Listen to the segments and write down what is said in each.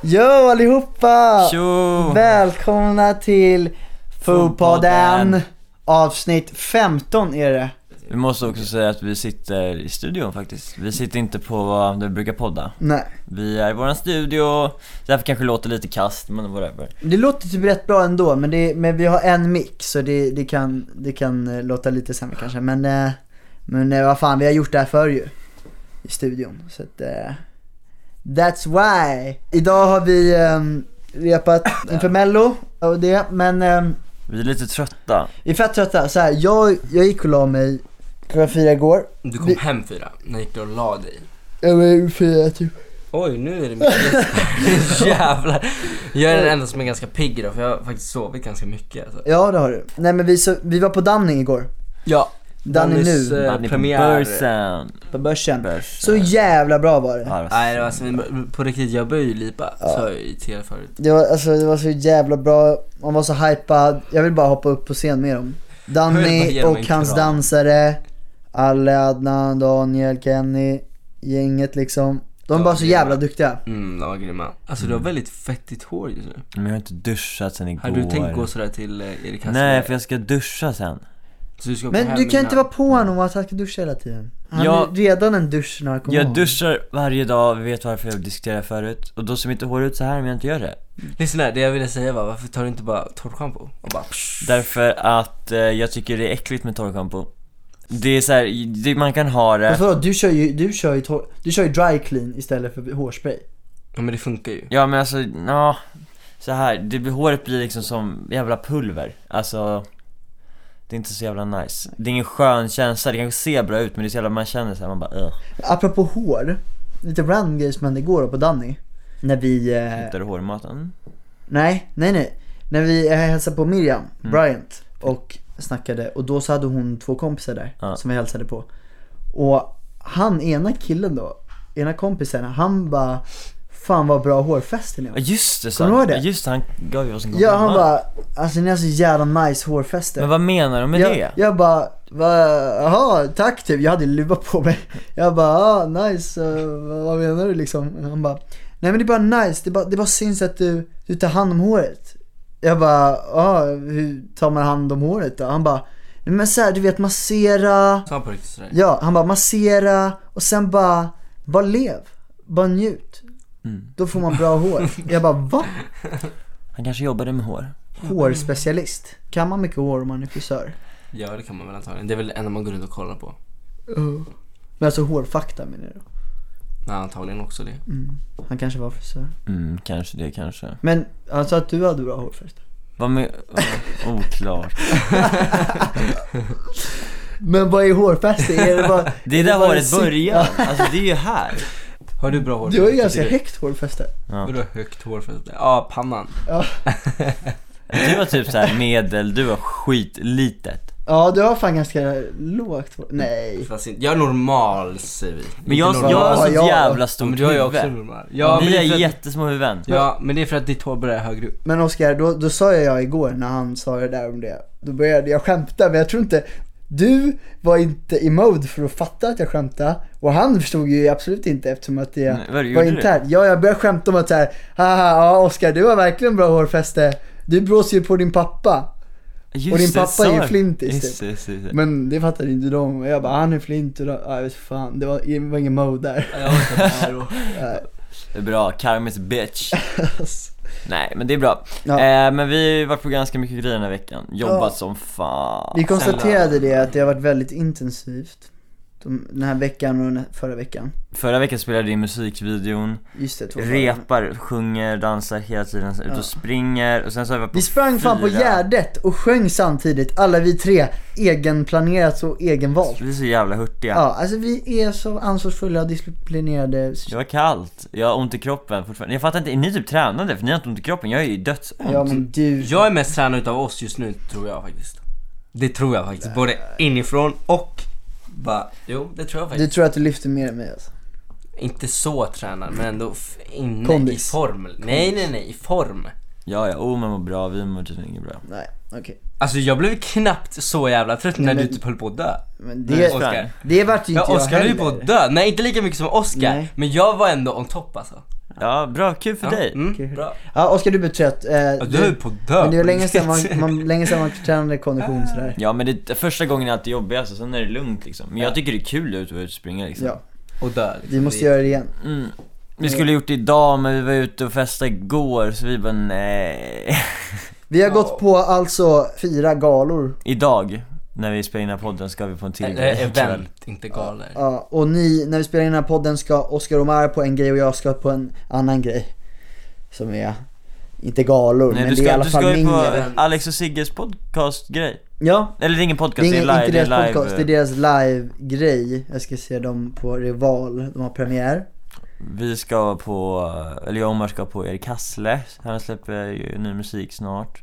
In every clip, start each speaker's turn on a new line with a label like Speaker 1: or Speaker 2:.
Speaker 1: Jo allihopa!
Speaker 2: Jo.
Speaker 1: Välkomna till Fopodden!
Speaker 2: Fopodden.
Speaker 1: Avsnitt 15 är det.
Speaker 2: Vi måste också säga att vi sitter i studion faktiskt. Vi sitter inte på där vi brukar podda.
Speaker 1: Nej.
Speaker 2: Vi är i våran studio, därför kanske det låter lite kast men whatever.
Speaker 1: Det låter typ rätt bra ändå men, det, men vi har en mick så det, det, kan, det kan eh, låta lite sämre kanske men, eh, men eh, vad fan vi har gjort det här förr ju. I studion så att eh, That's why! Idag har vi ehm, repat inför mello och det men ehm,
Speaker 2: Vi är lite trötta.
Speaker 1: vi är fett trötta. Så här, jag, jag gick och la mig klockan fyra igår.
Speaker 3: Du kom
Speaker 1: Vi-
Speaker 3: hem fyra, när gick du och la dig?
Speaker 1: Jag var fyra typ.
Speaker 3: Oj, nu är det mycket Jävlar. Jag är den enda som är ganska pigg idag för jag har faktiskt sovit ganska mycket alltså.
Speaker 1: Ja det har du. Nej men vi, så, vi var på Danny igår.
Speaker 3: Ja.
Speaker 1: Danny
Speaker 3: Dannys,
Speaker 1: nu.
Speaker 3: eh,
Speaker 2: Danny på
Speaker 3: premiär.
Speaker 2: börsen.
Speaker 1: På börsen.
Speaker 2: börs.
Speaker 1: Så jävla bra var det.
Speaker 2: Ja, det var-
Speaker 3: Nej, det var alltså, på riktigt, jag började ju lipa, sa jag ju till er förut.
Speaker 1: Det var, alltså, det var så jävla bra, man var så hypad. Jag vill bara hoppa upp på scen med dem.
Speaker 3: Jag vill bara
Speaker 1: Danny
Speaker 3: ge dem
Speaker 1: och
Speaker 3: en
Speaker 1: hans
Speaker 3: kram.
Speaker 1: dansare, Alle, Adnan, Daniel, Kenny, gänget liksom. De var bara så
Speaker 3: Daniel.
Speaker 1: jävla duktiga.
Speaker 3: Mm, de var grymma. Alltså du har väldigt fettigt hår just nu.
Speaker 2: Men jag har inte duschat sen igår.
Speaker 3: Hade du tänkt gå sådär till eh, Erik Hassberg?
Speaker 2: Nej, för jag ska duscha sen.
Speaker 3: Så du ska åka
Speaker 1: Men
Speaker 3: hem
Speaker 1: du kan
Speaker 3: innan.
Speaker 1: inte vara på honom att han ska duscha hela tiden. Han
Speaker 2: Ja.
Speaker 1: är redan en duschnarkoman.
Speaker 2: Jag duschar varje dag, vi vet varför jag diskuterar förut. Och då ser mitt hår ut så här om jag inte gör det.
Speaker 3: Lyssna här, det jag ville säga var, varför tar du inte bara torrschampo? Och bara psh,
Speaker 2: Därför att eh, jag tycker det är äckligt med torrschampo. Det är så här, det, man kan ha det.
Speaker 1: Fast vadå, du kör ju, du kör ju, tor- du kör ju dry clean istället för hårspray.
Speaker 3: Ja men det funkar ju.
Speaker 2: Ja men alltså, ja så här, det, blir- håret blir liksom som jävla pulver. Alltså, det är inte så jävla nice. Det är ingen skön känsla, det kanske ser bra ut men det är så jävla, man känner såhär, man bara uh,
Speaker 1: Apropå hår, lite random grej som hände igår då på Danny. När vi, eh,
Speaker 2: hittar du hårmaten?
Speaker 1: nej, nej, nej. När vi eh, hälsade på Miriam
Speaker 2: Mm.
Speaker 1: Bryant och snackade och då så hade hon två kompisar där
Speaker 2: Ja.
Speaker 1: som vi hälsade på. Och han, ena killen då, ena kompisen, han bara Fan vad bra hårfesten
Speaker 2: Ja
Speaker 1: är.
Speaker 2: just det,
Speaker 1: Kommer du ihåg
Speaker 2: så,
Speaker 1: det?
Speaker 2: just det, han gav ju oss en komplimang.
Speaker 1: Ja han bara, alltså ni har så jävla nice hårfester.
Speaker 2: Men vad menar de med
Speaker 1: jag,
Speaker 2: det?
Speaker 1: jag bara, va, jaha, tack typ. Jag hade luva på mig. Jag bara, ah, nice, eh, vad, vad menar du liksom? Han bara, nej men det är bara nice, det bara, det bara syns att du, du tar hand om håret. Jag bara, ah, hur tar man hand om håret då? Han bara, nej men såhär du vet massera,
Speaker 3: Sa han på riktigt sådär?
Speaker 1: ja han bara massera och sen bara, bara lev, bara njut.
Speaker 2: Mm.
Speaker 1: Då får man bra hår. Jag bara, va?
Speaker 2: Han kanske jobbade med hår.
Speaker 1: Hårspecialist? Kan man mycket hår om man är frisör?
Speaker 3: Ja det kan man väl antagligen. Det är väl det enda man går runt och kollar på.
Speaker 1: Men alltså hårfakta menar du?
Speaker 3: Nej antagligen också det.
Speaker 1: Han kanske var frisör.
Speaker 2: Mm, kanske det, kanske.
Speaker 1: Men han sa att du hade bra hårfäste.
Speaker 2: Vad med, oh, oklart.
Speaker 1: Men vad är hårfäste? Är det bara...
Speaker 2: Det är
Speaker 1: det
Speaker 2: där
Speaker 1: bara
Speaker 2: håret
Speaker 1: sitt-
Speaker 2: börjar, alltså det är ju här.
Speaker 3: Har du bra hår?
Speaker 1: Du har ju ganska högt hårfäste.
Speaker 3: Vadå högt hår för att- Ja, pannan.
Speaker 2: Du var typ såhär medel, du var skitlitet.
Speaker 1: Ja, du har fan ganska lågt hår. Nej.
Speaker 3: Fast inte- Jag är normal säger vi.
Speaker 2: Men jag,
Speaker 3: Inte
Speaker 2: jag
Speaker 3: normal.
Speaker 1: Ja,
Speaker 2: har
Speaker 1: ja.
Speaker 2: så jävla
Speaker 3: Ja,
Speaker 2: stort
Speaker 3: men du har ju också
Speaker 2: huvud.
Speaker 3: normal. Ja, men
Speaker 2: Ni
Speaker 3: det
Speaker 2: är
Speaker 3: är för att-
Speaker 2: jättesmå huvuden.
Speaker 3: Ja, men det är för att ditt hår börjar högre upp.
Speaker 1: Men Oskar, då, då sa jag igår när han sa det där om det. Då började jag skämta, men jag tror inte... Du var inte i mode för att fatta att jag skämtade. Och han förstod ju absolut inte eftersom att det
Speaker 2: Nej, vad gjorde
Speaker 1: var
Speaker 2: du?
Speaker 1: internt. Ja, jag började skämta om att såhär, haha, ja Oskar du har verkligen bra hårfäste. Du blåser ju på din pappa.
Speaker 2: Just
Speaker 1: Och din
Speaker 2: det,
Speaker 1: pappa
Speaker 2: sa
Speaker 1: är ju
Speaker 2: jag.
Speaker 1: flintis,
Speaker 2: Just
Speaker 1: typ.
Speaker 2: det, just det, just det.
Speaker 1: Men det fattade inte de. Och jag bara, han är flint och då, ja, jag vet fan, det var, det var ingen mode där.
Speaker 2: Det är Bra, Karmis bitch. Nej men det är bra.
Speaker 1: Ja.
Speaker 2: Eh, men vi har varit på ganska mycket grejer den här veckan. Jobbat som fan.
Speaker 1: Vi konstaterade det att det har varit väldigt intensivt. De, den här veckan och den här förra veckan.
Speaker 2: Förra veckan spelade vi in musikvideon,
Speaker 1: Just det, två förra.
Speaker 2: repar, sjunger, dansar hela tiden, ut
Speaker 1: Ja.
Speaker 2: och springer och sen så har vi varit på
Speaker 1: Vi sprang fan på
Speaker 2: fyra-
Speaker 1: Gärdet och sjöng samtidigt, alla vi tre. Egenplanerat och egenvalt.
Speaker 2: Vi är så jävla hurtiga.
Speaker 1: Ja, alltså vi är så ansvarsfulla och disciplinerade.
Speaker 2: Det var kallt, jag har ont i kroppen fortfarande. Jag fattar inte, är ni typ tränade? För ni har inte ont i kroppen, jag är ju dödsont.
Speaker 1: Ja men du.
Speaker 3: Jag är mest tränad utav oss just nu tror jag faktiskt. Det tror jag faktiskt. Både inifrån och bara, jo det tror jag
Speaker 1: Du
Speaker 3: faktiskt.
Speaker 1: tror att du lyfter mer än mig alltså?
Speaker 3: Inte så tränad men ändå f- inne
Speaker 1: Kondis.
Speaker 3: i form. Nej nej nej, i form.
Speaker 2: Ja, ja, oh, man mår bra, vi mår tydligen inget bra.
Speaker 1: Nej, okej.
Speaker 3: Alltså jag blev knappt så jävla trött när
Speaker 1: men-
Speaker 3: du typ höll på att dö.
Speaker 1: Men det,
Speaker 3: Oskar.
Speaker 1: det vart ju inte
Speaker 3: Ja, Oskar
Speaker 1: jag
Speaker 3: höll
Speaker 1: heller.
Speaker 3: ju på att dö. Nej inte lika mycket som Oskar.
Speaker 1: Nej.
Speaker 3: Men jag var ändå on top alltså.
Speaker 2: Ja, bra, kul för
Speaker 3: Ja,
Speaker 2: dig.
Speaker 3: Mm, bra.
Speaker 1: Ja, Oskar du blev trött. Eh,
Speaker 3: Ja, du höll ju på att dö.
Speaker 1: Men det var
Speaker 3: på
Speaker 1: länge sedan
Speaker 3: riktigt.
Speaker 1: man, man, länge sedan man tränade kondition sådär.
Speaker 2: Ja men det, första gången är alltid jobbigast alltså, sen är det lugnt liksom. Men jag tycker det är kul att ut och ut och springa liksom.
Speaker 1: Ja,
Speaker 3: Och dö. liksom.
Speaker 1: vi måste
Speaker 3: Det-
Speaker 1: göra det igen.
Speaker 2: Mm. Vi skulle gjort det idag men vi var ute och festade igår så vi bara nej.
Speaker 1: Vi har gått på alltså fyra galor.
Speaker 2: Idag, när vi spelar in den här podden, ska vi på en
Speaker 1: Eh,
Speaker 2: till
Speaker 3: Eller
Speaker 2: kväll.
Speaker 3: event, inte galor.
Speaker 1: Ja, och ni, när vi spelar in den här podden ska Oskar Omar på en grej och jag ska på en annan grej. Som är, inte galor,
Speaker 2: Nej,
Speaker 1: men det är
Speaker 2: du
Speaker 1: i
Speaker 2: ska,
Speaker 1: alla
Speaker 2: du ska
Speaker 1: fall
Speaker 2: ju på
Speaker 1: mingel.
Speaker 2: Alex och Sigges podcastgrej.
Speaker 1: Ja,
Speaker 2: Eller det är ingen podcast,
Speaker 1: det är,
Speaker 2: det
Speaker 1: ingen,
Speaker 2: är, live.
Speaker 1: inte deras
Speaker 2: det är live. eh.
Speaker 1: podcast, det är deras live-grej. Jag ska se dem på Rival, de har premiär.
Speaker 2: Vi ska på, eller jag och Omar ska på Erik Hassle, han släpper ju ny musik snart.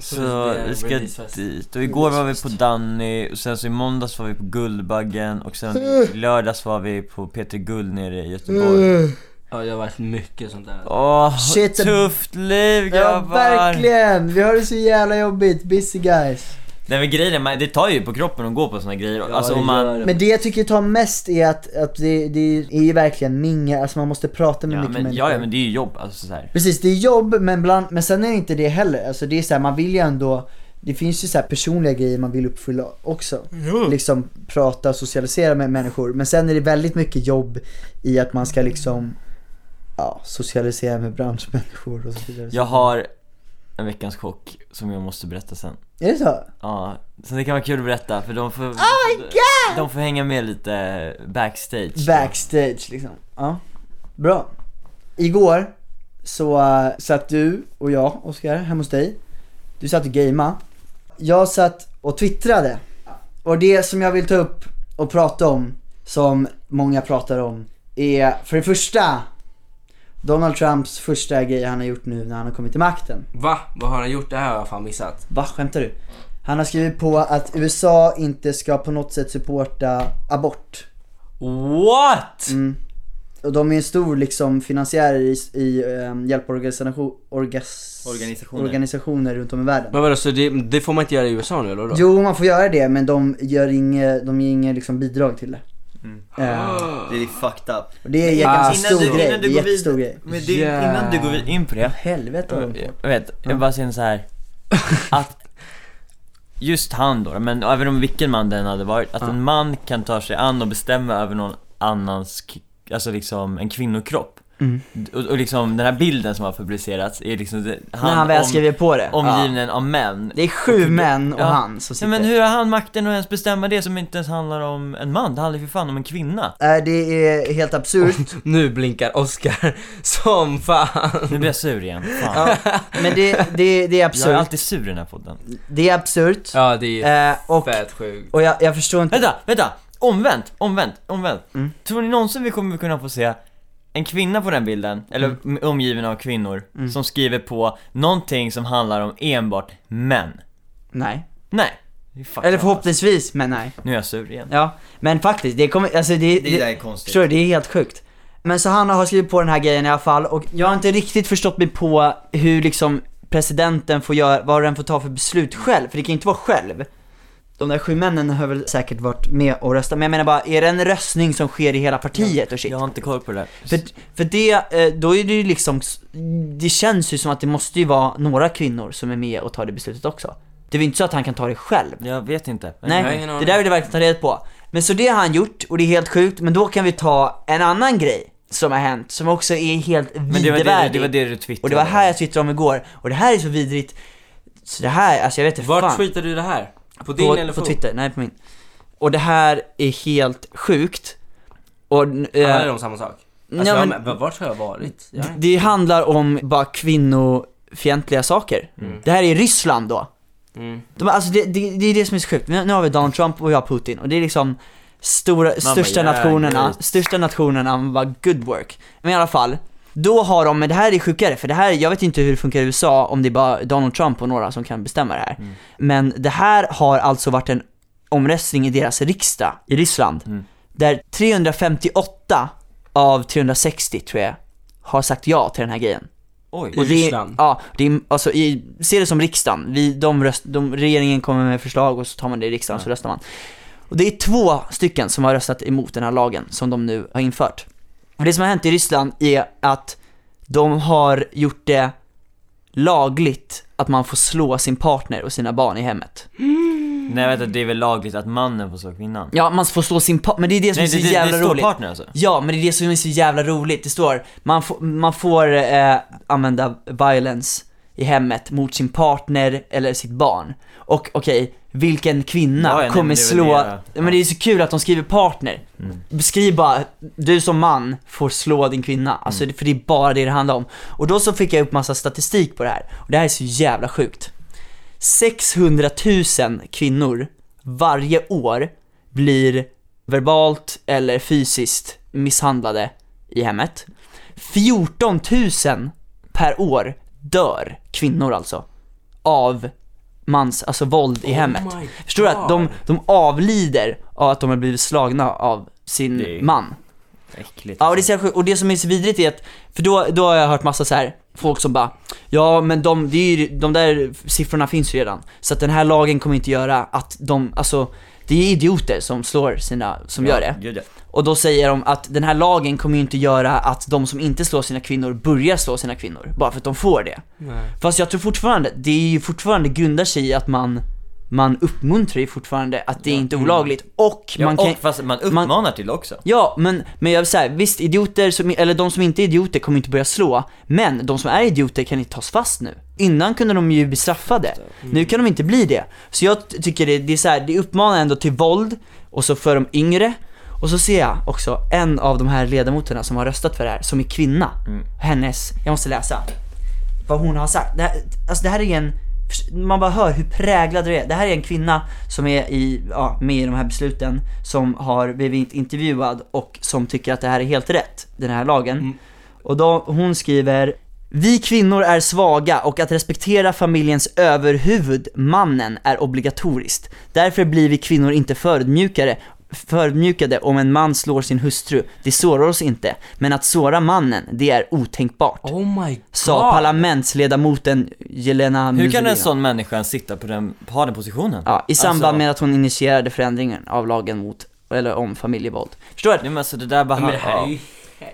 Speaker 3: Så
Speaker 2: Så,
Speaker 3: det är
Speaker 2: vi ska
Speaker 3: releasefest.
Speaker 2: dit, och igår var vi på Danny, och sen så i måndags var vi på Guldbaggen, och sen
Speaker 3: Eh.
Speaker 2: i lördags var vi på Peter Guld nere i Göteborg.
Speaker 3: Ja, jag har varit mycket sånt där.
Speaker 2: Åh,
Speaker 1: Shit.
Speaker 2: tufft liv
Speaker 1: Ja,
Speaker 2: grabbar!
Speaker 1: verkligen! Vi har det så jävla jobbigt, busy guys.
Speaker 2: Nej men grejen är, man- det tar ju på kroppen att gå på såna grejer,
Speaker 3: Ja,
Speaker 2: alltså
Speaker 3: det
Speaker 2: om man...
Speaker 3: gör det.
Speaker 1: Men det jag tycker tar mest är att, att det, det är ju verkligen mingel, alltså man måste prata med
Speaker 2: Ja
Speaker 1: mycket
Speaker 2: men,
Speaker 1: människor.
Speaker 2: ja, ja men det är ju jobb, alltså så här.
Speaker 1: Precis, det är jobb men, bland, men sen är det inte det heller. Alltså det är så här, man vill ju ändå, det finns ju så här personliga grejer man vill uppfylla också. Liksom prata, socialisera med människor. Men sen är det väldigt mycket jobb i att man ska liksom, ja, socialisera med branschmänniskor och så vidare.
Speaker 2: Jag har en veckans chock som jag måste berätta sen.
Speaker 1: Är det så?
Speaker 2: Ja, så det kan vara kul att berätta för de får,
Speaker 3: Oh
Speaker 2: de får hänga med lite backstage.
Speaker 1: Backstage liksom. Ja. Bra. Igår så eh, satt du och jag, Oskar, hemma hos dig. Du satt och gamea. Jag satt och twittrade. Och det som jag vill ta upp och prata om, som många pratar om, är för det första Donald Trumps första grej han har gjort nu när han har kommit till makten.
Speaker 3: Va? Vad har han gjort? Det här har jag fan missat.
Speaker 1: Va? Skämtar du? Han har skrivit på att USA inte ska på något sätt supporta abort.
Speaker 3: What?
Speaker 1: Mm. Och de är en stor liksom finansiärer i, i ehm, hjälporganisation- orgas,
Speaker 2: Organisationer.
Speaker 1: organisationer runt om i världen.
Speaker 3: Men vadå, så det, det får man inte göra i USA nu eller vadå?
Speaker 1: Jo, man får göra det men de gör inget, de ger inget liksom bidrag till det.
Speaker 2: Mm.
Speaker 1: Eh,
Speaker 2: Det är fucked up.
Speaker 1: och det är en
Speaker 3: Ah.
Speaker 1: ganska
Speaker 2: Innan
Speaker 1: stor
Speaker 2: du-
Speaker 1: grej,
Speaker 2: innan
Speaker 1: det
Speaker 2: du
Speaker 1: är en
Speaker 2: går
Speaker 1: jättestor
Speaker 2: vidare.
Speaker 1: grej.
Speaker 2: Men det, innan du går vid- in på det.
Speaker 1: Helvete vad de får.
Speaker 2: Jag vet, jag bara säger så här att just han då, men även om vilken man den hade varit, att en man kan ta sig an och bestämma över någon annans, k- alltså liksom en kvinnokropp.
Speaker 1: Mm.
Speaker 2: Och, och liksom den här bilden som har publicerats är liksom det-
Speaker 1: När han väl
Speaker 2: om-
Speaker 1: skriver på det. Ja.
Speaker 2: omgivningen av män.
Speaker 1: Det är sju män och
Speaker 2: Ja.
Speaker 1: han som
Speaker 2: Ja,
Speaker 1: sitter.
Speaker 2: men hur har han makten att ens bestämma det som inte ens handlar om en man? Det handlar ju för fan om en kvinna.
Speaker 1: Eh, det är helt absurt.
Speaker 3: Nu blinkar Oscar som fan.
Speaker 2: Nu blir jag sur igen. Fan.
Speaker 1: men det, det, det är
Speaker 2: Jag är
Speaker 1: absurt.
Speaker 2: alltid sur i den här podden.
Speaker 1: Det är absurt.
Speaker 3: Ja, det är
Speaker 1: Eh, och
Speaker 3: fett sjukt.
Speaker 1: och jag, jag förstår inte.
Speaker 2: Vänta, vänta! Omvänt, omvänt, omvänt.
Speaker 1: Mm.
Speaker 2: Tror ni någonsin vi kommer kunna få se en kvinna på den bilden, eller
Speaker 1: Mm.
Speaker 2: m- omgiven av kvinnor, som skriver på någonting som handlar om enbart män?
Speaker 1: Nej.
Speaker 2: Nej. Det är fucking
Speaker 1: Eller förhoppningsvis, men nej.
Speaker 2: Nu är jag sur igen.
Speaker 1: Ja, men faktiskt, det kommer, alltså det,
Speaker 2: Det där är konstigt.
Speaker 1: Förstår du, det är helt sjukt. Men så han har skrivit på den här grejen i alla fall och jag har inte riktigt förstått mig på hur liksom presidenten får göra, vad den får ta för beslut själv, för det kan ju inte vara själv. De där sju männen har väl säkert varit med och röstat, men jag menar bara, är det en röstning som sker i hela partiet och shit?
Speaker 2: Jag har inte koll på det där.
Speaker 1: För, för det, eh, då är det ju liksom, det känns ju som att det måste ju vara några kvinnor som är med och tar det beslutet också. Det är ju inte så att han kan ta det själv.
Speaker 2: Jag vet inte.
Speaker 3: Jag har
Speaker 1: Nej,
Speaker 3: ingen
Speaker 1: det
Speaker 3: aning.
Speaker 1: där vill jag verkligen ta reda på. Men så det har han gjort och det är helt sjukt, men då kan vi ta en annan grej som har hänt som också är helt
Speaker 2: Men det var det, det, var
Speaker 1: vidervärdig.
Speaker 2: det du twittrade
Speaker 1: Och det var här jag twittrade om igår, och det här är så vidrigt. Så det här, alltså jag vet inte
Speaker 3: Vart
Speaker 1: fan.
Speaker 3: tweetade du det här? På din
Speaker 1: på,
Speaker 3: eller
Speaker 1: på Twitter? Nej, på min. Och det här är helt sjukt. Och, eh,
Speaker 3: Handlar det om samma sak? Alltså,
Speaker 1: ja,
Speaker 3: jag-
Speaker 1: men-
Speaker 3: v- Vart har jag varit? Jag har inte-
Speaker 1: det handlar om bara kvinnofientliga saker. Det här är Ryssland då.
Speaker 3: Mm.
Speaker 1: De, alltså det, det, det är det som är så sjukt. Nu nu har vi Donald Trump och vi har Putin och det är liksom stora, största
Speaker 2: yeah,
Speaker 1: nationerna,
Speaker 2: great.
Speaker 1: största nationerna, man bara good work. Men i alla fall, då har de, men det här är sjukare för det här, jag vet inte hur det funkar i USA om det är bara Donald Trump och några som kan bestämma det här. Men det här har alltså varit en omröstning i deras riksdag i Ryssland. Där 358 av 360 tror jag har sagt ja till den här grejen.
Speaker 3: Oj,
Speaker 1: Och
Speaker 3: i
Speaker 1: det-
Speaker 3: Ryssland?
Speaker 1: Ja, det är, alltså, i, se det som riksdagen. Vi, de röst, de, regeringen kommer med förslag och så tar man det i riksdagen så röstar man. Och det är två stycken som har röstat emot den här lagen som de nu har infört. Och det som har hänt i Ryssland är att de har gjort det lagligt att man får slå sin partner och sina barn i hemmet.
Speaker 2: Nej vänta, det är väl lagligt att mannen får slå kvinnan?
Speaker 1: Ja, man får slå sin partner, men det är det som
Speaker 2: Nej
Speaker 1: är så
Speaker 2: det, det, det,
Speaker 1: jävla
Speaker 2: står
Speaker 1: roligt.
Speaker 2: partner alltså?
Speaker 1: Ja, men det är det som är så jävla roligt. Det står, man, får- man får eh, använda violence i hemmet mot sin partner eller sitt barn. Och okej, vilken kvinna
Speaker 2: Ja, ja, nej,
Speaker 1: kommer
Speaker 2: men det är väl
Speaker 1: slå...
Speaker 2: det, Mm. ja.
Speaker 1: Men det är så kul att de skriver partner. Beskriv bara, du som man får slå din kvinna. Alltså,
Speaker 2: Mm.
Speaker 1: det- för det är bara det det handlar om. Och då så fick jag upp massa statistik på det här. Och det här är så jävla sjukt. 600 000 kvinnor varje år blir verbalt eller fysiskt misshandlade i hemmet. 14 000 per år dör kvinnor alltså av mans, alltså våld i hemmet.
Speaker 3: Oh my
Speaker 1: Förstår du att de,
Speaker 3: God.
Speaker 1: de avlider av att de har blivit slagna av sin
Speaker 2: Det är-
Speaker 1: man.
Speaker 2: Äckligt alltså.
Speaker 1: Ja, och det, är så jävla sjukt. och det som är så vidrigt är att, för då, då har jag hört massa så här folk som bara Ja men de, det är ju, de där siffrorna finns ju redan, så att den här lagen kommer inte göra att de, alltså det är idioter som slår sina, som gör det.
Speaker 2: Gud, ja.
Speaker 1: Och då säger de att den här lagen kommer ju inte göra att de som inte slår sina kvinnor börjar slå sina kvinnor, bara för att de får det.
Speaker 3: Nej.
Speaker 1: Fast jag tror fortfarande, det är ju fortfarande grundar sig i att man, man uppmuntrar ju fortfarande att det är inte är olagligt och
Speaker 2: Ja,
Speaker 1: man
Speaker 2: och
Speaker 1: kan
Speaker 2: fast man uppmanar till också.
Speaker 1: Ja, men, men jag vill säga, visst idioter, som, eller de som inte är idioter kommer inte börja slå, men de som är idioter kan inte tas fast nu. Innan kunde de ju bli straffade, nu kan de inte bli det. Så jag t- tycker det, det är så här, det uppmanar ändå till våld, och så för de yngre, och så ser jag också en av de här ledamoterna som har röstat för det här, som är kvinna. Hennes, jag måste läsa, vad hon har sagt. Det här, alltså det här är en, man bara hör hur präglad det är. Det här är en kvinna som är i, ja, med i de här besluten, som har blivit intervjuad och som tycker att det här är helt rätt, den här lagen. Och då, hon skriver vi kvinnor är svaga och att respektera familjens överhuvud, mannen, är obligatoriskt. Därför blir vi kvinnor inte förödmjukade, förödmjukade om en man slår sin hustru. Det sårar oss inte. Men att såra mannen, det är otänkbart
Speaker 3: Oh my god!
Speaker 1: sa parlamentsledamoten Jelena
Speaker 2: Hur kan
Speaker 1: Muzulina.
Speaker 2: en sån människa sitta på den, ha den positionen?
Speaker 1: Ja, I samband
Speaker 2: Alltså-
Speaker 1: med att hon initierade förändringen av lagen mot, eller om familjevåld. Förstår
Speaker 2: Nej
Speaker 1: du?
Speaker 2: men alltså det där bara...
Speaker 3: Men det här är
Speaker 2: ja.
Speaker 3: ju...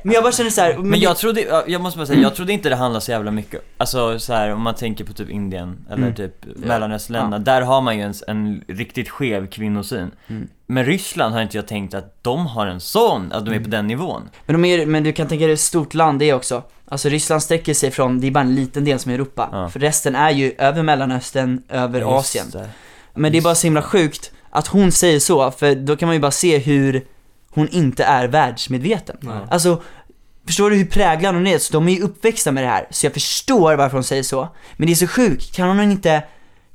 Speaker 1: Men jag bara känner så här, men,
Speaker 2: Men
Speaker 1: jag,
Speaker 2: jag trodde, ja, jag måste bara säga, jag trodde inte det handlade så jävla mycket, alltså så här, om man tänker på typ Indien eller
Speaker 1: Mm.
Speaker 2: typ mellanöstländerna, där har man ju en, en riktigt skev kvinnosyn.
Speaker 1: Mm.
Speaker 2: Men Ryssland har inte jag tänkt att de har en sån, att de
Speaker 1: Mm.
Speaker 2: är på den nivån.
Speaker 1: men, de är, men du kan tänka dig hur stort land det är också. Alltså Ryssland sträcker sig från, det är bara en liten del som är Europa.
Speaker 2: Ja.
Speaker 1: För resten är ju över Mellanöstern, över Asien.
Speaker 2: Just det.
Speaker 1: Men det är bara så himla sjukt att hon säger så, för då kan man ju bara se hur hon inte är världsmedveten. Alltså, förstår du hur präglad hon är? Så de är ju uppväxta med det här, så jag förstår varför hon säger så. Men det är så sjukt, kan hon inte,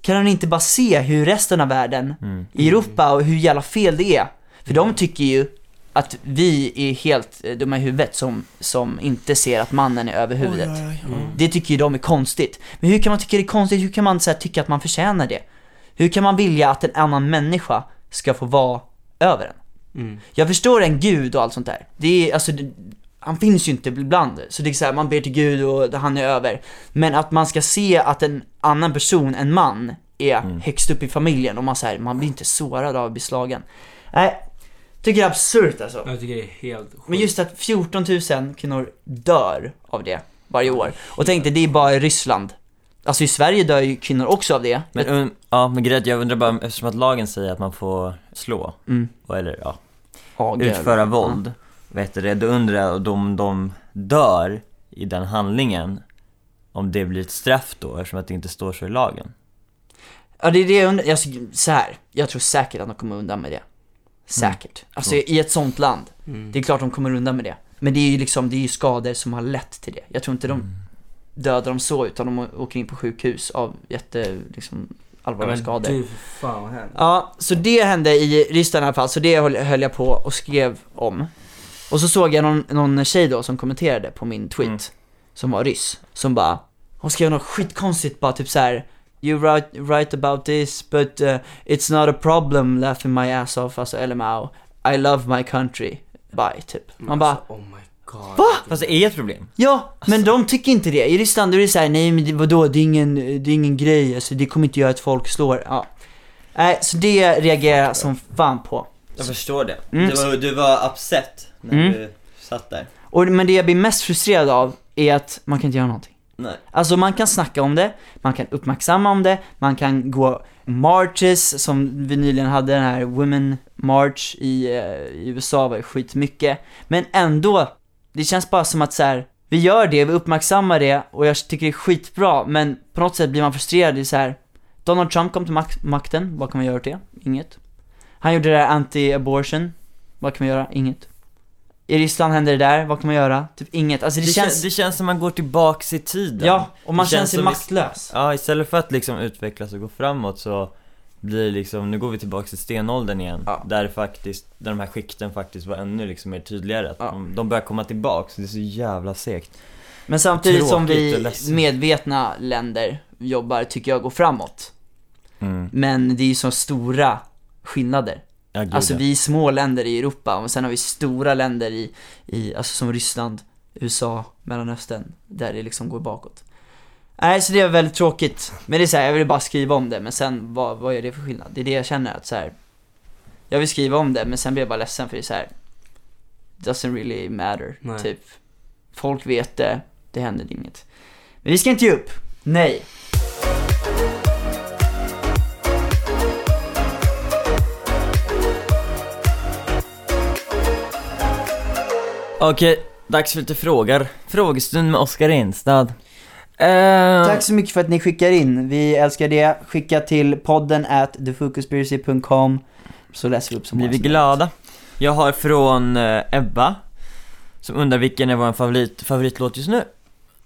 Speaker 1: kan hon inte bara se hur resten av världen, i Europa och hur jävla fel det är? För de tycker ju att vi är helt eh, dumma i huvudet som, som inte ser att mannen är över huvudet. Det tycker ju de är konstigt. Men hur kan man tycka det är konstigt? Hur kan man så här, tycka att man förtjänar det? Hur kan man vilja att en annan människa ska få vara över en? Jag förstår en gud och allt sånt där. Det är, alltså, det, han finns ju inte ibland. Så det är så här, man ber till gud och han är över. Men att man ska se att en annan person, en man, är högst upp i familjen och man, så här, man blir inte sårad av att bli slagen. Nej, tycker det är absurt alltså.
Speaker 3: Jag tycker det är helt sjukt.
Speaker 1: Men just att 14 000 kvinnor dör av det varje år. Och tänk dig, det är bara i Ryssland. Alltså i Sverige dör ju kvinnor också av det.
Speaker 2: Men, um, ja, men grejen är att jag undrar bara, eftersom att lagen säger att man får slå,
Speaker 1: Mm.
Speaker 2: och, eller ja, utföra
Speaker 1: liksom,
Speaker 2: våld, vet du det, då undrar jag om de dör i den handlingen, om det blir ett straff då, eftersom att det inte står så i lagen.
Speaker 1: Ja det är det jag undrar, jag, så här, jag tror säkert att de kommer undan med det. säkert. Alltså i ett sånt land. Det är klart de kommer undan med det. Men det är ju liksom, det är ju skador som har lett till det. Jag tror inte de dödar dem så, utan de å- åker in på sjukhus av jätte, liksom, allvarliga skador.
Speaker 3: du, fan vad hemskt.
Speaker 1: Ja, så det hände i Ryssland i alla fall, så det höll, höll jag på och skrev om. Och så såg jag någon, någon tjej då som kommenterade på min tweet, som var ryss, som bara, hon skrev något skitkonstigt bara typ så här. You write, write about this but uh, it's not a problem laughing my ass off, alltså LMAO. I love my country, bye typ. Man bara,
Speaker 3: Alltså, oh my god.
Speaker 2: Fast det är ett problem.
Speaker 1: Ja, men de tycker inte det. I Ryssland då är det såhär, nej men det- vadå, det är ingen, det är ingen grej, alltså, det kommer inte göra att folk slår. Ja. Nej, så det reagerar jag som fan på.
Speaker 2: Jag förstår det.
Speaker 1: Mm.
Speaker 2: Du, var, du var upset när
Speaker 1: Mm.
Speaker 2: du satt där.
Speaker 1: Och, men det jag blir mest frustrerad av är att man kan inte göra någonting.
Speaker 2: Nej.
Speaker 1: Alltså man kan snacka om det, man kan uppmärksamma om det, man kan gå marches som vi nyligen hade den här Women March i, eh, i USA var det skitmycket. Men ändå, det känns bara som att så här, vi gör det, vi uppmärksammar det och jag tycker det är skitbra men på något sätt blir man frustrerad. Det är så här, Donald Trump kom till mak- makten, vad kan man göra åt det? Inget. Han gjorde det där anti-abortion, vad kan man göra? Inget. I Ryssland hände det där, vad kan man göra? Typ inget. Alltså
Speaker 2: Det,
Speaker 1: det,
Speaker 2: känns...
Speaker 1: känns...
Speaker 2: det känns som man går tillbaks i tiden.
Speaker 1: ja, och man
Speaker 2: det
Speaker 1: känns
Speaker 2: känns
Speaker 1: sig
Speaker 2: som-
Speaker 1: maktlös.
Speaker 2: Ja, istället för att liksom utvecklas och gå framåt så blir det liksom, nu går vi tillbaks till stenåldern igen.
Speaker 3: Ja.
Speaker 2: Där faktiskt, där de här skikten faktiskt var ännu liksom mer tydligare. Att
Speaker 3: Ja.
Speaker 2: de, de börjar komma tillbaks, det är så jävla segt.
Speaker 1: Men samtidigt som
Speaker 2: Tråkigt och
Speaker 1: vi
Speaker 2: ledsen.
Speaker 1: medvetna länder jobbar, tycker jag, går framåt.
Speaker 2: Mm.
Speaker 1: Men det är ju så stora skillnader.
Speaker 2: Ja, gud,
Speaker 1: Alltså
Speaker 2: ja.
Speaker 1: vi är små länder i Europa och sen har vi stora länder i, i alltså som Ryssland, USA, Mellanöstern, där det liksom går bakåt. Nej, så det är väldigt tråkigt. Men det är så här, jag ville bara skriva om det, men sen vad, vad är det för skillnad? Det är det jag känner att så här. jag vill skriva om det, men sen blir jag bara ledsen för det är så här. Doesn't really matter,
Speaker 3: Nej.
Speaker 1: typ. Folk vet det, det händer inget. Men vi ska inte ge upp. Nej.
Speaker 2: Okej, dags för lite frågor. Frågestund med Oskar Enstad. Ehm,
Speaker 1: Tack så mycket för att ni skickar in. Vi älskar det. Skicka till podden at thefocuspiracy.com så läser vi upp så
Speaker 2: Blir
Speaker 1: många
Speaker 2: vi
Speaker 1: som möjligt.
Speaker 2: glada? Jag har från eh, Ebba, som undrar vilken är vår favorit, favoritlåt just nu?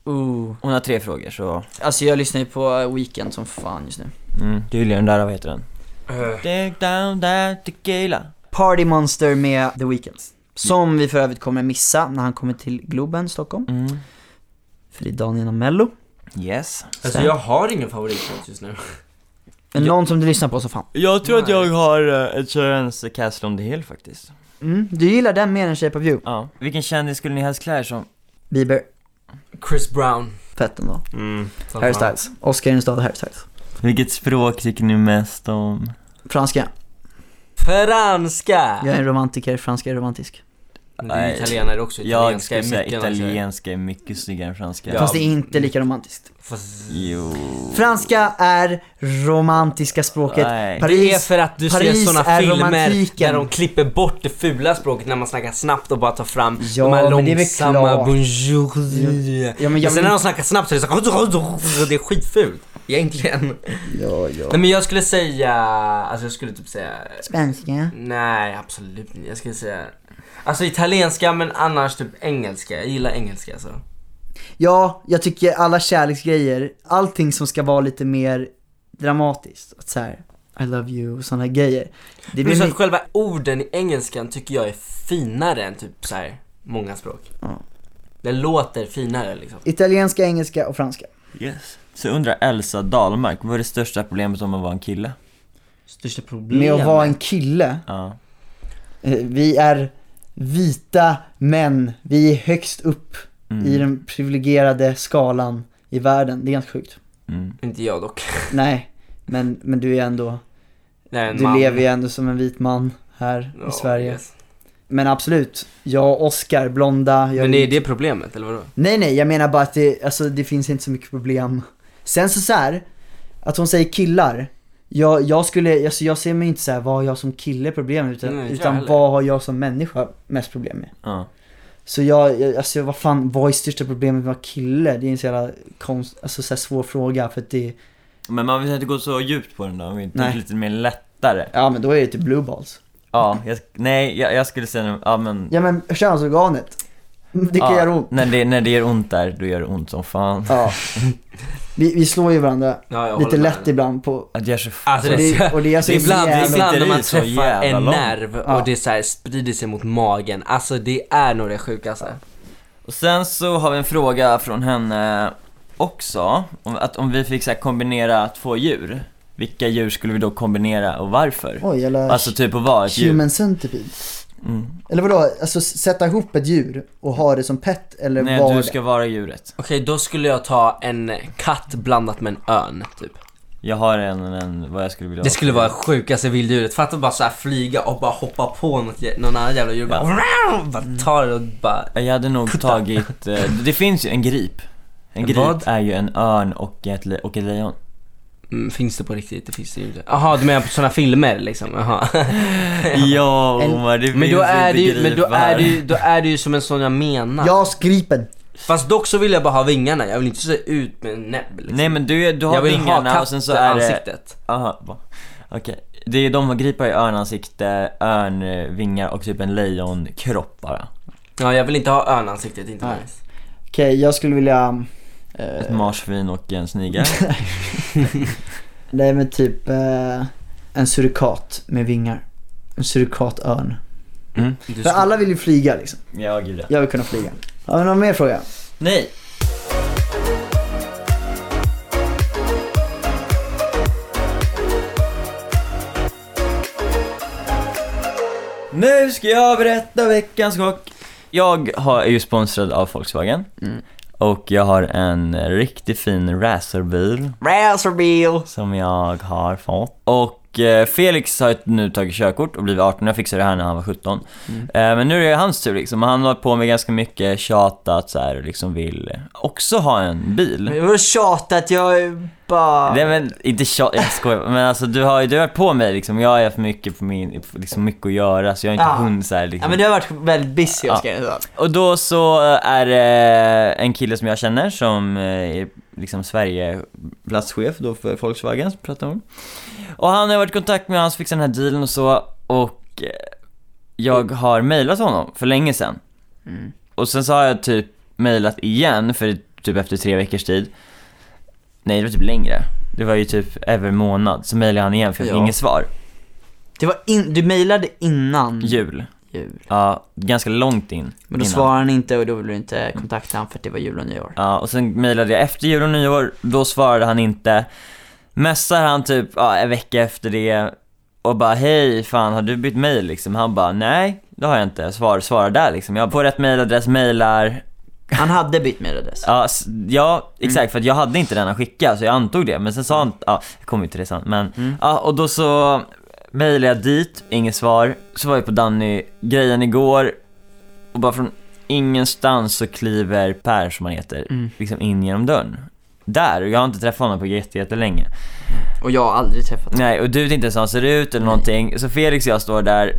Speaker 1: Ooh.
Speaker 2: Hon har tre frågor så,
Speaker 1: Alltså jag lyssnar ju på eh, Weekend som fan just nu.
Speaker 2: mm, du gillar den där, vad heter den?
Speaker 3: Eh,
Speaker 2: Dig down that tequila
Speaker 1: Party Monster med The Weeknd. Som vi för övrigt kommer missa när han kommer till Globen, Stockholm.
Speaker 2: mm.
Speaker 1: För det är dagen innan Mello.
Speaker 2: Yes
Speaker 3: alltså jag har ingen favoritlåt just nu.
Speaker 1: Men någon som du lyssnar på så fan.
Speaker 2: Jag tror att
Speaker 3: Nej.
Speaker 2: jag har eh, Ed Sheerans Castle on the Hill faktiskt
Speaker 1: Mm, du gillar den mer än Shape of You?
Speaker 2: Ja, vilken kändis skulle ni helst klä er som?
Speaker 1: Bieber.
Speaker 3: Chris Brown.
Speaker 1: Fett ändå.
Speaker 2: Mm.
Speaker 1: Harry Styles. Oscar i en stad Harry Styles.
Speaker 2: Vilket språk tycker ni mest om?
Speaker 1: Franska.
Speaker 3: Franska!
Speaker 1: Jag är en romantiker, franska är romantisk.
Speaker 3: Men det är ju
Speaker 2: Nej.
Speaker 3: italienare också,
Speaker 2: Jag
Speaker 3: italienska
Speaker 2: skulle säga
Speaker 3: mycket annars.
Speaker 2: italienska är mycket snyggare än franska
Speaker 3: Ja.
Speaker 1: Fast det är inte lika romantiskt.
Speaker 3: Fast-
Speaker 2: Jo
Speaker 1: Franska är romantiska språket.
Speaker 2: Nej.
Speaker 3: Det är
Speaker 1: Paris,
Speaker 3: för att du
Speaker 1: Paris
Speaker 3: ser såna
Speaker 1: är
Speaker 3: filmer
Speaker 1: romantiken.
Speaker 3: där de klipper bort det fula språket när man snackar snabbt och bara tar fram
Speaker 1: Ja,
Speaker 3: de här
Speaker 1: men det är väl
Speaker 3: långsamma
Speaker 1: klart.
Speaker 3: bonjour.
Speaker 1: jag
Speaker 3: men sen
Speaker 1: vill-
Speaker 3: när de snackar snabbt så är det så det är skitfult. Egentligen.
Speaker 1: ja, ja.
Speaker 3: Nej men jag skulle säga, alltså jag skulle typ säga,
Speaker 1: Svenska.
Speaker 3: nej absolut inte. Jag skulle säga, alltså italienska men annars typ engelska. Jag gillar engelska alltså.
Speaker 1: Ja, jag tycker alla kärleksgrejer, allting som ska vara lite mer dramatiskt. Att så här, I love you och sådana grejer. Det
Speaker 3: Plus
Speaker 1: blir
Speaker 3: att
Speaker 1: mycket,
Speaker 3: själva orden i engelskan tycker jag är finare än typ så här många språk.
Speaker 1: Ja.
Speaker 3: Det låter finare liksom.
Speaker 1: italienska, engelska och franska.
Speaker 2: Yes Så undrar Elsa Dahlmark, vad är det största problemet om att vara en kille?
Speaker 3: Största problemet.
Speaker 1: Med att vara en kille,
Speaker 2: Ja
Speaker 1: eh, vi är vita män, vi är högst upp
Speaker 3: Mm.
Speaker 1: i den privilegierade skalan i världen. Det är ganska sjukt.
Speaker 2: mm.
Speaker 3: Inte jag dock.
Speaker 1: Nej, men, men du är ändå,
Speaker 3: Nej, en
Speaker 1: du
Speaker 3: man.
Speaker 1: lever ju ändå som en vit man här
Speaker 3: Ja,
Speaker 1: i Sverige.
Speaker 3: yes.
Speaker 1: Men absolut, jag och Oscar, blonda, jag
Speaker 3: Men är det problemet eller vadå?
Speaker 1: Nej nej, jag menar bara att det, alltså, det finns inte så mycket problem. Sen så, så här, att hon säger killar. Jag, jag skulle, alltså, jag ser mig inte så här, vad har jag som kille problem med, utan,
Speaker 3: Nej, inte jag
Speaker 1: utan
Speaker 3: heller.
Speaker 1: vad har jag som människa mest problem med?
Speaker 2: ja.
Speaker 1: Så jag, jag alltså vad fan, vad är största problemet med att vara kille? Det är en så jävla konst, alltså så här svår fråga för att det,
Speaker 2: Men man vill inte gå så djupt på den då, om vi tänker
Speaker 1: Nej.
Speaker 2: lite mer lättare
Speaker 1: ja men då är det typ blue balls.
Speaker 2: Ja, jag, nej jag, jag skulle säga, ja men...
Speaker 4: Ja men könsorganet. Det kan
Speaker 2: ja,
Speaker 4: göra ont.
Speaker 2: När det, när det gör ont där, då gör det ont som fan.
Speaker 4: Ja. Vi, vi slår ju varandra
Speaker 3: Ja, jag
Speaker 4: lite
Speaker 3: håller med
Speaker 4: lätt
Speaker 3: henne.
Speaker 4: ibland på...
Speaker 2: Att jag är så f-
Speaker 3: Alltså
Speaker 4: Och
Speaker 3: det, är
Speaker 4: det-
Speaker 3: så-
Speaker 4: och det är alltså
Speaker 3: ibland,
Speaker 4: så jävla-
Speaker 3: ibland när man
Speaker 2: så
Speaker 3: träffar
Speaker 2: jävla
Speaker 3: en
Speaker 2: långt.
Speaker 3: nerv och
Speaker 4: Ja.
Speaker 3: det så här sprider sig mot magen, alltså det är nog det sjukaste.
Speaker 2: Och sen så har vi en fråga från henne också, om, att om vi fick så här kombinera två djur, vilka djur skulle vi då kombinera och varför?
Speaker 4: Oj, eller
Speaker 2: Alltså typ att vara ett djur.
Speaker 4: human centipede.
Speaker 2: Mm.
Speaker 4: Eller vadå? Alltså s- sätta ihop ett djur och ha det som pet eller
Speaker 2: Nej,
Speaker 4: vad?
Speaker 2: du ska vara djuret.
Speaker 3: Okej, då skulle jag ta en katt blandat med en örn, typ.
Speaker 2: Jag har en, en vad jag skulle vilja
Speaker 3: Det skulle vara det sjukaste vilddjuret, fatta bara så här flyga och bara hoppa på något, jä- någon annan jävla djur bara, bara ta det och bara
Speaker 2: Jag hade nog tagit, eh, det finns ju en grip. En
Speaker 3: En
Speaker 2: grip
Speaker 3: vad?
Speaker 2: är ju en örn och ett, le- och ett lejon.
Speaker 3: mm, Finns det på riktigt? Det finns det ju inte. Jaha, du menar på sådana filmer liksom? Jaha.
Speaker 2: Ja,
Speaker 4: En-
Speaker 2: Omar, det
Speaker 3: Men
Speaker 2: finns
Speaker 3: då är
Speaker 2: inte
Speaker 3: det ju, men då är
Speaker 2: gripar.
Speaker 3: det ju, då är det ju som en sån jag menar.
Speaker 4: Ja, skripen.
Speaker 3: Fast dock så vill jag bara ha vingarna, jag vill inte se ut med en näbb liksom.
Speaker 2: Nej men du, är- du har
Speaker 3: jag vill
Speaker 2: vingarna
Speaker 3: ha
Speaker 2: och sen så är det...
Speaker 3: ansiktet.
Speaker 2: Aha, va? Okej. Det är de har gripar i örnansikte, örnvingar och typ en lejonkropp bara.
Speaker 3: Ja, jag vill inte ha örnansiktet, inte
Speaker 4: Nej.
Speaker 3: nice.
Speaker 4: Okej, jag skulle vilja...
Speaker 2: Ett
Speaker 3: Eh.
Speaker 2: marsvin och en snigel.
Speaker 4: Nej men typ eh, en surikat med vingar. En surikatörn.
Speaker 3: Du
Speaker 4: För
Speaker 3: skulle-
Speaker 4: alla vill ju flyga liksom.
Speaker 2: ja, gud ja.
Speaker 4: Jag vill kunna flyga. Har vi någon mer fråga?
Speaker 2: Nej! Nu ska jag berätta veckans chock. Jag har, är ju sponsrad av Volkswagen. Och jag har en riktigt fin racerbil
Speaker 1: Razorbil!
Speaker 2: som jag har fått. Och eh, Felix har ju nu tagit körkort och blivit 18, jag fixade det här när han var 17.
Speaker 1: Mm.
Speaker 2: Eh, men nu är det hans tur liksom, och han har hållit på med ganska mycket tjatat så här, och liksom vill också ha en bil.
Speaker 1: Jag var tjatat, jag bara...
Speaker 2: Nej men inte tjat, jag skojar. Men alltså du har ju du har varit på mig liksom, jag har ju haft mycket, på min, liksom, mycket att göra så jag har inte
Speaker 1: Ja.
Speaker 2: hunnit så här, liksom.
Speaker 1: Ja men du har varit väldigt busy Oskar. Ja.
Speaker 2: Och då så eh, är det en kille som jag känner som eh, är liksom Sverigeplatschef då för Volkswagen, som pratar om. Och han har varit i kontakt med, han fixar den här dealen och så och eh, jag har mejlat honom för länge sedan.
Speaker 1: Mm.
Speaker 2: Och sen så har jag typ mejlat igen för typ efter tre veckors tid. Nej det var typ längre. Det var ju typ över en månad, så mejlade han igen för jag fick
Speaker 1: Ja.
Speaker 2: inget svar.
Speaker 1: Det var in, du mejlade innan
Speaker 2: Jul.
Speaker 1: jul.
Speaker 2: Ja, ganska långt in.
Speaker 1: Men då
Speaker 2: innan.
Speaker 1: svarade han inte och då ville du inte kontakta honom för att det var jul och nyår.
Speaker 2: Ja, och sen mejlade jag efter jul och nyår, då svarade han inte. Messar han typ ja, en vecka efter det och bara hej, fan har du bytt mejl liksom? Han bara nej, det har jag inte. Svar, svara där liksom. Jag på rätt mejladress, mejlar.
Speaker 1: Han hade bytt mejladress.
Speaker 2: Ja, s- ja exakt, för att jag hade inte den han skickade så jag antog det. Men sen sa han, ja, jag kommer ju till det sen. Men, ja, och då så mejlade jag dit, inget svar. Så var jag på Danny-grejen igår och bara från ingenstans så kliver Per, som han heter, liksom in genom dörren. Där, och jag har inte träffat honom på jätte- jättelänge.
Speaker 1: Och jag har aldrig träffat honom.
Speaker 2: Nej, och du vet inte ens hur han ser ut eller någonting. Så Felix och jag står där.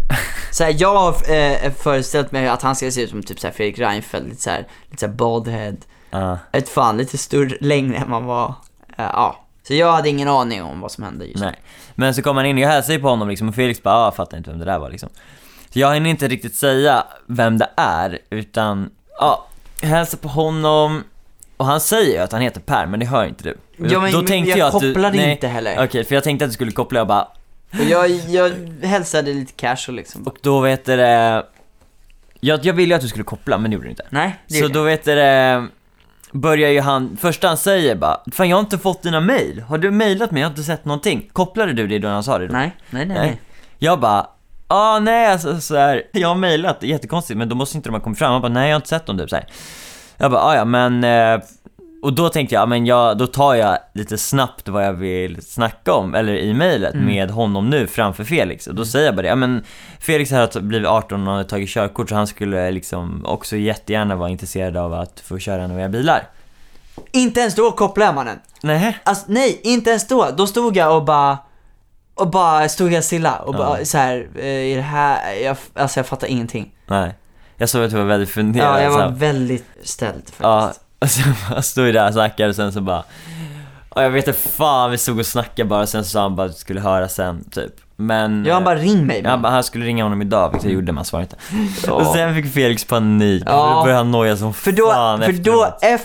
Speaker 1: Så här, jag har eh, föreställt mig att han ska se ut som typ så här Fredrik Reinfeldt, lite såhär, lite såhär baldhead.
Speaker 2: Ja.
Speaker 1: Ett fan lite större, längre än man var. Eh, ja. Så jag hade ingen aning om vad som hände just
Speaker 2: Nej. Men så kom han in och jag hälsade ju på honom liksom och Felix bara ah, jag fattar inte vem det där var liksom. Så jag hinner inte riktigt säga vem det är utan ja, jag hälsar på honom och han säger ju att han heter Per men det hör inte du.
Speaker 1: Ja, men- men jag kopplade inte heller.
Speaker 2: Okej, för jag tänkte att du skulle koppla och bara
Speaker 1: Och jag, jag hälsade lite casual liksom.
Speaker 2: och då vet du det jag, jag ville ju att du skulle koppla men det gjorde du inte.
Speaker 1: Nej, det
Speaker 2: Så
Speaker 1: gjorde
Speaker 2: då
Speaker 1: jag.
Speaker 2: vet du det börjar ju han, första han säger bara Fan jag har inte fått dina mail, har du mailat mig? Jag har inte sett någonting. Kopplade du det då när han sa det? Då?
Speaker 1: Nej, nej, nej.
Speaker 2: Nej.
Speaker 1: nej.
Speaker 2: Jag bara, ah nej alltså så här, jag har mejlat, det är jättekonstigt men då måste inte de ha kommit fram. Han bara, nej jag har inte sett dem typ så här. Jag bara, ah, ja men, eh, och då tänkte jag, ah, men jag, då tar jag lite snabbt vad jag vill snacka om, eller i mejlet
Speaker 1: Mm.
Speaker 2: med honom nu framför Felix. Och då säger jag bara det, ja men Felix här har t- blivit 18 och har tagit körkort så han skulle liksom också jättegärna vara intresserad av att få köra några bilar.
Speaker 1: Inte ens då kopplade man den.
Speaker 2: Nej.
Speaker 1: Alltså nej, inte ens då. Då stod jag och bara och bara stod jag stilla och bara så här, eh, i det här, jag, alltså jag fattar ingenting.
Speaker 2: Nej. Jag såg att du var väldigt funderad.
Speaker 1: Ja, jag
Speaker 2: så
Speaker 1: var
Speaker 2: här.
Speaker 1: väldigt ställd
Speaker 2: Ja,
Speaker 1: faktiskt.
Speaker 2: och så bara stod vi där och snackade och sen så bara... Ja, jag vet inte fan, vi stod och snackade bara sen så sa han bara att vi skulle höra sen typ. Men...
Speaker 5: Ja, han bara ring mig.
Speaker 2: Ja, han bara, han skulle ringa honom idag, vilket jag gjorde men han svarade inte.
Speaker 5: Ja.
Speaker 2: Och sen fick Felix panik,
Speaker 5: Ja.
Speaker 2: då började han noja som
Speaker 5: För då,
Speaker 2: fan
Speaker 5: för då
Speaker 2: efteråt.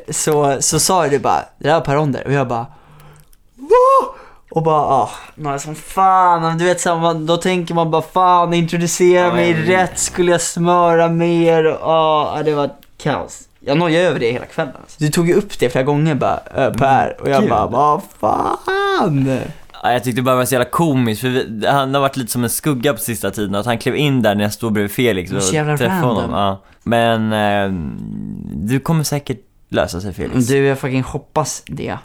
Speaker 5: efter så, så sa du bara, det där var Per Onder och jag bara Va? Och bara ah, några som fan, du vet så här, man, då tänker man bara fan introducera
Speaker 3: Ja,
Speaker 5: mig
Speaker 3: jag vet.
Speaker 5: rätt, skulle jag smöra mer? Och, ah, ja, det var kaos. Jag nojade över det hela kvällen. Alltså. Du tog ju upp det flera gånger bara, äh, Per, och jag
Speaker 2: Gud.
Speaker 5: bara vad fan?
Speaker 2: Ja, jag tyckte det bara var så jävla komiskt, för vi, han har varit lite som en skugga på sista tiden, att han klev in där när jag stod bredvid Felix
Speaker 5: Det är
Speaker 2: och
Speaker 5: så jävla
Speaker 2: träffade
Speaker 5: random.
Speaker 2: honom. Ja. Men, eh, du kommer säkert lösa sig Felix.
Speaker 5: Du, jag fucking hoppas det.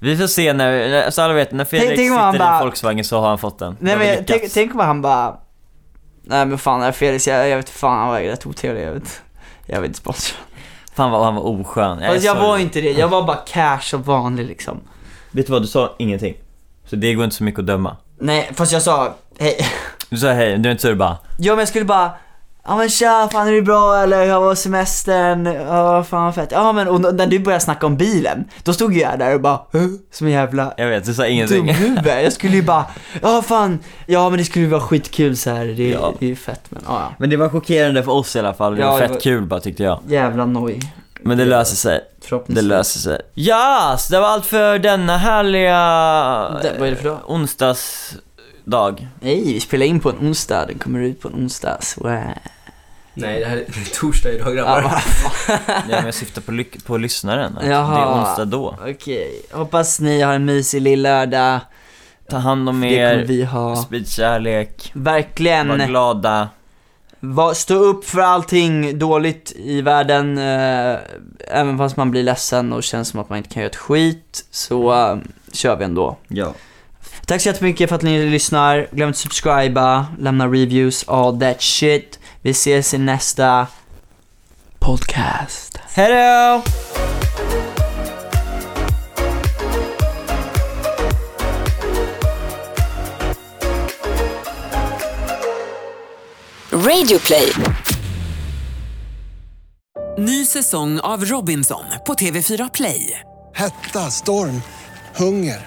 Speaker 2: Vi får se när, när- så alla vet, när Felix
Speaker 5: tänk om
Speaker 2: sitter
Speaker 5: han
Speaker 2: i
Speaker 5: bara-
Speaker 2: Volkswagen så har han fått den.
Speaker 5: Nej
Speaker 2: Då har vi
Speaker 5: men
Speaker 2: lyckats.
Speaker 5: tänk, tänk om han bara Nej men fan det här Felix, jag, jag vet fan han var rätt otrevlig, jag vet Jag vet inte sponsra
Speaker 2: Fan vad han var oskön.
Speaker 5: Fast jag
Speaker 2: sorry.
Speaker 5: var inte det, jag var bara cash och vanlig liksom
Speaker 2: Vet du vad, du sa ingenting. Så det går inte så mycket att döma.
Speaker 5: Nej fast jag sa hej
Speaker 2: Du sa hej, du är inte så du bara
Speaker 5: Ja men jag skulle bara Ja men tja, fan är det bra eller hur var semestern? Ja fan vad fett. Ja men och när du började snacka om bilen, då stod jag där och bara "Huh?" som en jävla
Speaker 2: Jag vet, du sa ingenting.
Speaker 5: dumhuvud. Jag skulle ju bara, ja fan, ja men det skulle ju vara skitkul så här. det,
Speaker 2: Ja.
Speaker 5: det är ju fett men ja ja.
Speaker 2: Men det var chockerande för oss i alla fall. Det
Speaker 5: Ja,
Speaker 2: var
Speaker 5: det
Speaker 2: fett
Speaker 5: var-
Speaker 2: kul bara tyckte jag.
Speaker 5: Jävla noj.
Speaker 2: Men det löser sig. Det
Speaker 5: Förhoppningsvis.
Speaker 2: löser sig. Ja, så det var allt för denna härliga
Speaker 5: Det- vad är det för dag?
Speaker 2: onsdagsdag.
Speaker 5: Nej, vi spelar in på en onsdag. Den kommer ut på en onsdag. Så, eh,
Speaker 3: Nej, det här är torsdag idag grabbar.
Speaker 5: ja,
Speaker 2: Ja, men jag syftar på, lyck- på lyssnaren. Att Det är
Speaker 5: Jaha.
Speaker 2: onsdag då.
Speaker 5: Okej, hoppas ni har en mysig lill-lördag.
Speaker 2: Ta hand om
Speaker 5: Det kommer
Speaker 2: er.
Speaker 5: vi ha.
Speaker 2: Sprid kärlek. Var
Speaker 5: Verkligen.
Speaker 2: glada.
Speaker 5: Va, stå upp för allting dåligt i världen. Eh, även fast man blir ledsen och känns som att man inte kan göra ett skit, så eh, kör vi ändå.
Speaker 2: Ja.
Speaker 5: Tack så jättemycket för att ni lyssnar. Glöm inte subscriba, lämna reviews, all that shit. Vi ses i nästa podcast. Hejdå!
Speaker 6: Radio play.
Speaker 7: Ny säsong av Robinson på TV4 Play.
Speaker 8: Hetta, storm, hunger.